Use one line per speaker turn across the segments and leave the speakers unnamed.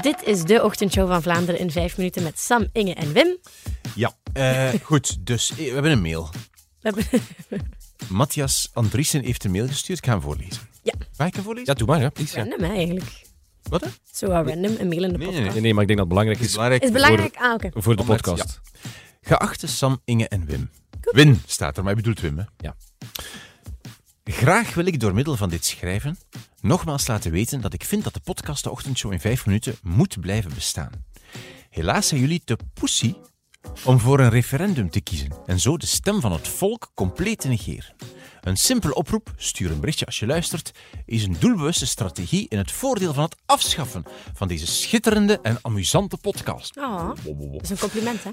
Dit is de ochtendshow van Vlaanderen in vijf minuten met Sam, Inge en Wim.
Ja, eh, goed. Dus eh, we hebben een mail.
We hebben-
Matthias Andriessen heeft een mail gestuurd. Ik ga hem voorlezen.
Ja.
Mag ik hem voorlezen?
Ja, doe maar. Hè.
Random hè, eigenlijk.
Wat? hè?
Zo wat random, een mail in de
Nee,
podcast.
nee,
Nee, nee, maar ik denk dat het belangrijk
Het is
is
belangrijk.
Is belangrijk? Ah, oké.
voor de
Om het-
podcast.
Geachte Sam, Inge en Wim. Win staat er, maar je bedoelt Wim, hè?
Ja.
Graag wil ik door middel van dit schrijven nogmaals laten weten dat ik vind dat de podcast De Ochtendshow in 5 minuten moet blijven bestaan. Helaas zijn jullie te pussy om voor een referendum te kiezen en zo de stem van het volk compleet te negeren. Een simpele oproep, stuur een berichtje als je luistert, is een doelbewuste strategie in het voordeel van het afschaffen van deze schitterende en amusante podcast.
Oh, dat is een compliment, hè?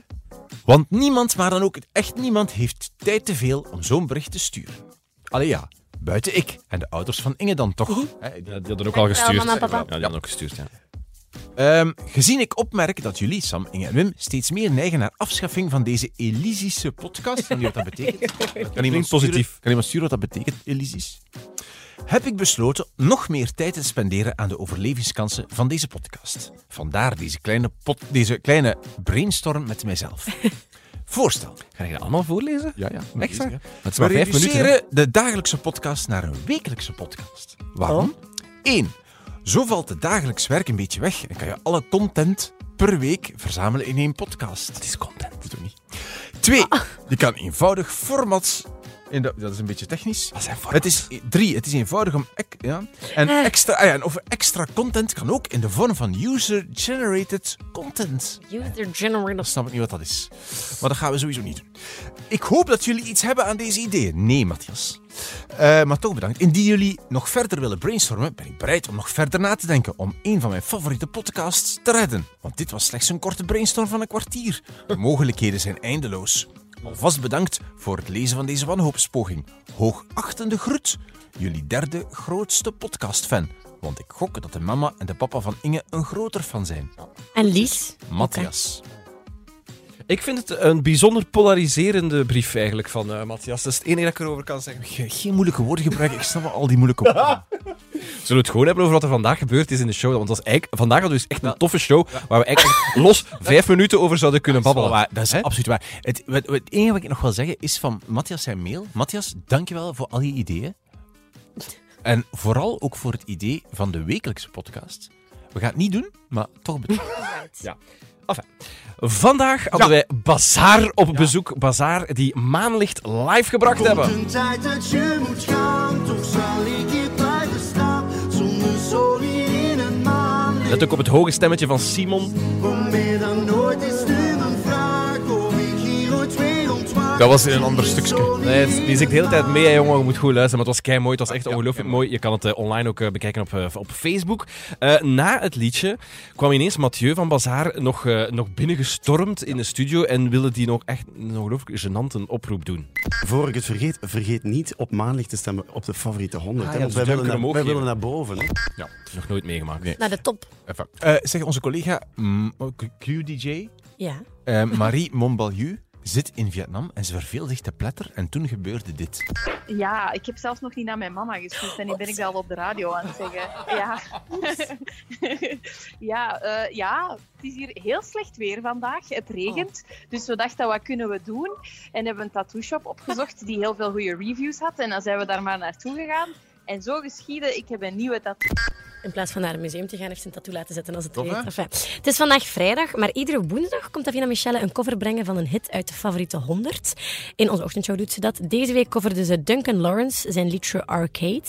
Want niemand, maar dan ook echt niemand, heeft tijd te veel om zo'n bericht te sturen. Allee ja, buiten ik en de ouders van Inge dan toch. Hè,
Ja, die hadden ook al
Dankjewel,
gestuurd.
mama en papa.
Ja, die hadden ook gestuurd, ja.
Ehm, gezien ik opmerk dat jullie, Sam, Inge en Wim, steeds meer neigen naar afschaffing van deze Elysische podcast. Kan iemand wat dat betekent? Kan iemand
positief.
Sturen, kan iemand sturen wat dat betekent, Elysisch? Heb ik besloten nog meer tijd te spenderen aan de overlevingskansen van deze podcast. Vandaar deze kleine, pot, deze kleine brainstorm met mijzelf. Voorstel.
Ga je dat allemaal voorlezen?
Ja, ja.
Echt waar? Maar Het is
We
maar vijf minuten. hè.
reduceren de dagelijkse podcast naar een wekelijkse podcast. Waarom?
Oh.
1. Zo valt het dagelijks werk een beetje weg en kan je alle content per week verzamelen in één podcast. Dat is content. Dat doe ik niet. 2.
Ah.
Je kan eenvoudig formats... in de- dat is een beetje technisch.
Wat zijn
Het
formats?
is, drie, het is eenvoudig om... ek- ja, en
Eh.
extra, ah ja, en of extra content kan ook in de vorm van user-generated content.
User
Dan
generated.
snap ik niet wat dat is. Maar dat gaan we sowieso niet doen. Ik hoop dat jullie iets hebben aan deze ideeën. Nee, Matthias. Eh, maar toch bedankt. Indien jullie nog verder willen brainstormen, ben ik bereid om nog verder na te denken om een van mijn favoriete podcasts te redden. Want dit was slechts een korte brainstorm van een kwartier. De mogelijkheden zijn eindeloos. Alvast bedankt voor het lezen van deze wanhoopspoging. Hoogachtende groet, jullie derde grootste podcastfan. Want ik gok dat de mama en de papa van Inge een groter fan zijn.
En Lies?
Matthias.
Ik vind het een bijzonder polariserende brief eigenlijk van eh, Matthias. Dat is het enige dat ik erover kan zeggen.
Ge- eh, geen moeilijke woorden gebruiken. Ik snap wel al die moeilijke woorden.
Zullen we het gewoon hebben over wat er vandaag gebeurd is in de show? Want dat is eigenlijk, vandaag hadden we dus echt een toffe show waar we eigenlijk los vijf minuten over zouden kunnen babbelen.
Waar, dat is
Hè?
absoluut waar. Het, wat- wat- het enige wat ik nog wil zeggen is van Matthias zijn mail. Matthias, dankjewel voor al je ideeën. En vooral ook voor het idee van de wekelijkse podcast. We gaan het niet doen, maar toch bedankt.
Ja. Enfin. Vandaag hadden wij Bazaar op bezoek. Bazaar die Maanlicht live gebracht hebben.
Een tijd dat je moet gaan, toch zal ik hier blijven staan. Zonder sorry in een maand.
Let ook op het hoge stemmetje van Simon.
Want meer dan nooit is nu mijn vraag of ik hier ooit weer ontwaak.
was in een ander stukje.
Nee, het- die zit de hele tijd mee, hè, jongen. Je moet goed luisteren. Maar het was kei mooi. Het was echt ongelooflijk mooi. Je kan het eh, online ook eh, bekijken op, eh, op Facebook. Eh, na het liedje kwam ineens Mathieu van Bazaar nog, eh, nog binnengestormd in de studio. En wilde die nog echt een ongelooflijk genante oproep doen.
Voor ik het vergeet, vergeet niet op maanlicht te stemmen op de favoriete 100.
Ah,
hè,
ja,
want
dus
wij
duim
willen,
kunnen
naar, wij
omhoog
willen
geven.
naar boven. hè.
Ja, dat is nog nooit meegemaakt.
Nee.
Naar de top.
zeg, Eh, onze collega mm, QDJ,
Ja.
eh, Marie Montbalieu, zit in Vietnam en ze verveelde zich te pletter. En toen gebeurde dit.
Ja, ik heb zelfs nog niet naar mijn mama gestuurd en nu ben ik dat al op de radio aan het zeggen. Ja, ja, eh, ja het is hier heel slecht weer vandaag. Het regent, dus we dachten wat kunnen we doen? En hebben een tattoo shop opgezocht die heel veel goede reviews had en dan zijn we daar maar naartoe gegaan. En zo geschiedde, ik heb een nieuwe tattoo.
In plaats van naar een museum te gaan, heeft ze een tattoo laten zetten als het
Top, hè?
regent. Enfin, het is vandaag vrijdag, maar iedere woensdag komt Davina Michelle een cover brengen van een hit uit de favoriete 100. In onze ochtendshow doet ze dat. Deze week coverde ze Duncan Lawrence zijn liedje Arcade.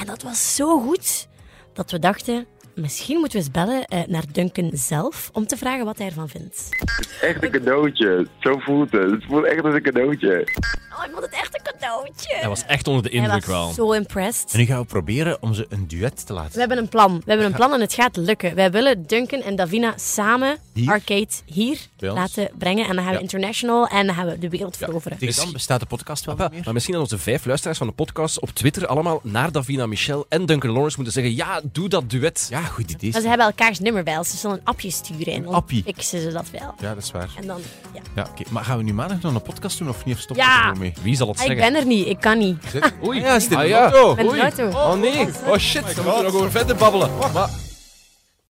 En dat was zo goed dat we dachten, misschien moeten we eens bellen eh, naar Duncan zelf om te vragen wat hij ervan vindt.
Echt een cadeautje. Zo voelt het. Het voelt echt als een cadeautje.
Oh, ik vond het echt een cadeautje.
Hij was echt onder de
Hij
indruk
was
wel.
zo impressed.
En nu gaan we proberen om ze een duet te laten
We hebben een plan. We hebben een plan en het gaat lukken. Wij willen Duncan en Davina samen
Hier?
Arcade hier
Bij ons?
laten brengen. En dan gaan we
Ja.
international en dan gaan we de wereld veroveren.
Tegen Dus dan bestaat de podcast wel niet meer.
Maar misschien dat onze vijf luisteraars van de podcast op Twitter allemaal naar Davina Michel en Duncan Lawrence moeten zeggen: Ja, doe dat duet.
Ja, goed idee.
Maar ze hebben elkaars nummer bij ons. Ze zullen een appje sturen en dan
appie.
fixen ze dat wel.
Ja, dat is waar.
En dan, ja.
Ja, oké. Maar gaan we nu maandag nog een podcast doen of niet? Of stoppen
Ja.
we er gewoon mee?
Wie zal het
Ah, ik
zeggen?
ben er niet. Ik kan niet.
Oei. ja, is dit
Ah, ja.
Lotto?
Met de
Oei.
auto.
Oh nee, oh shit, we moeten nog over verder babbelen. Maar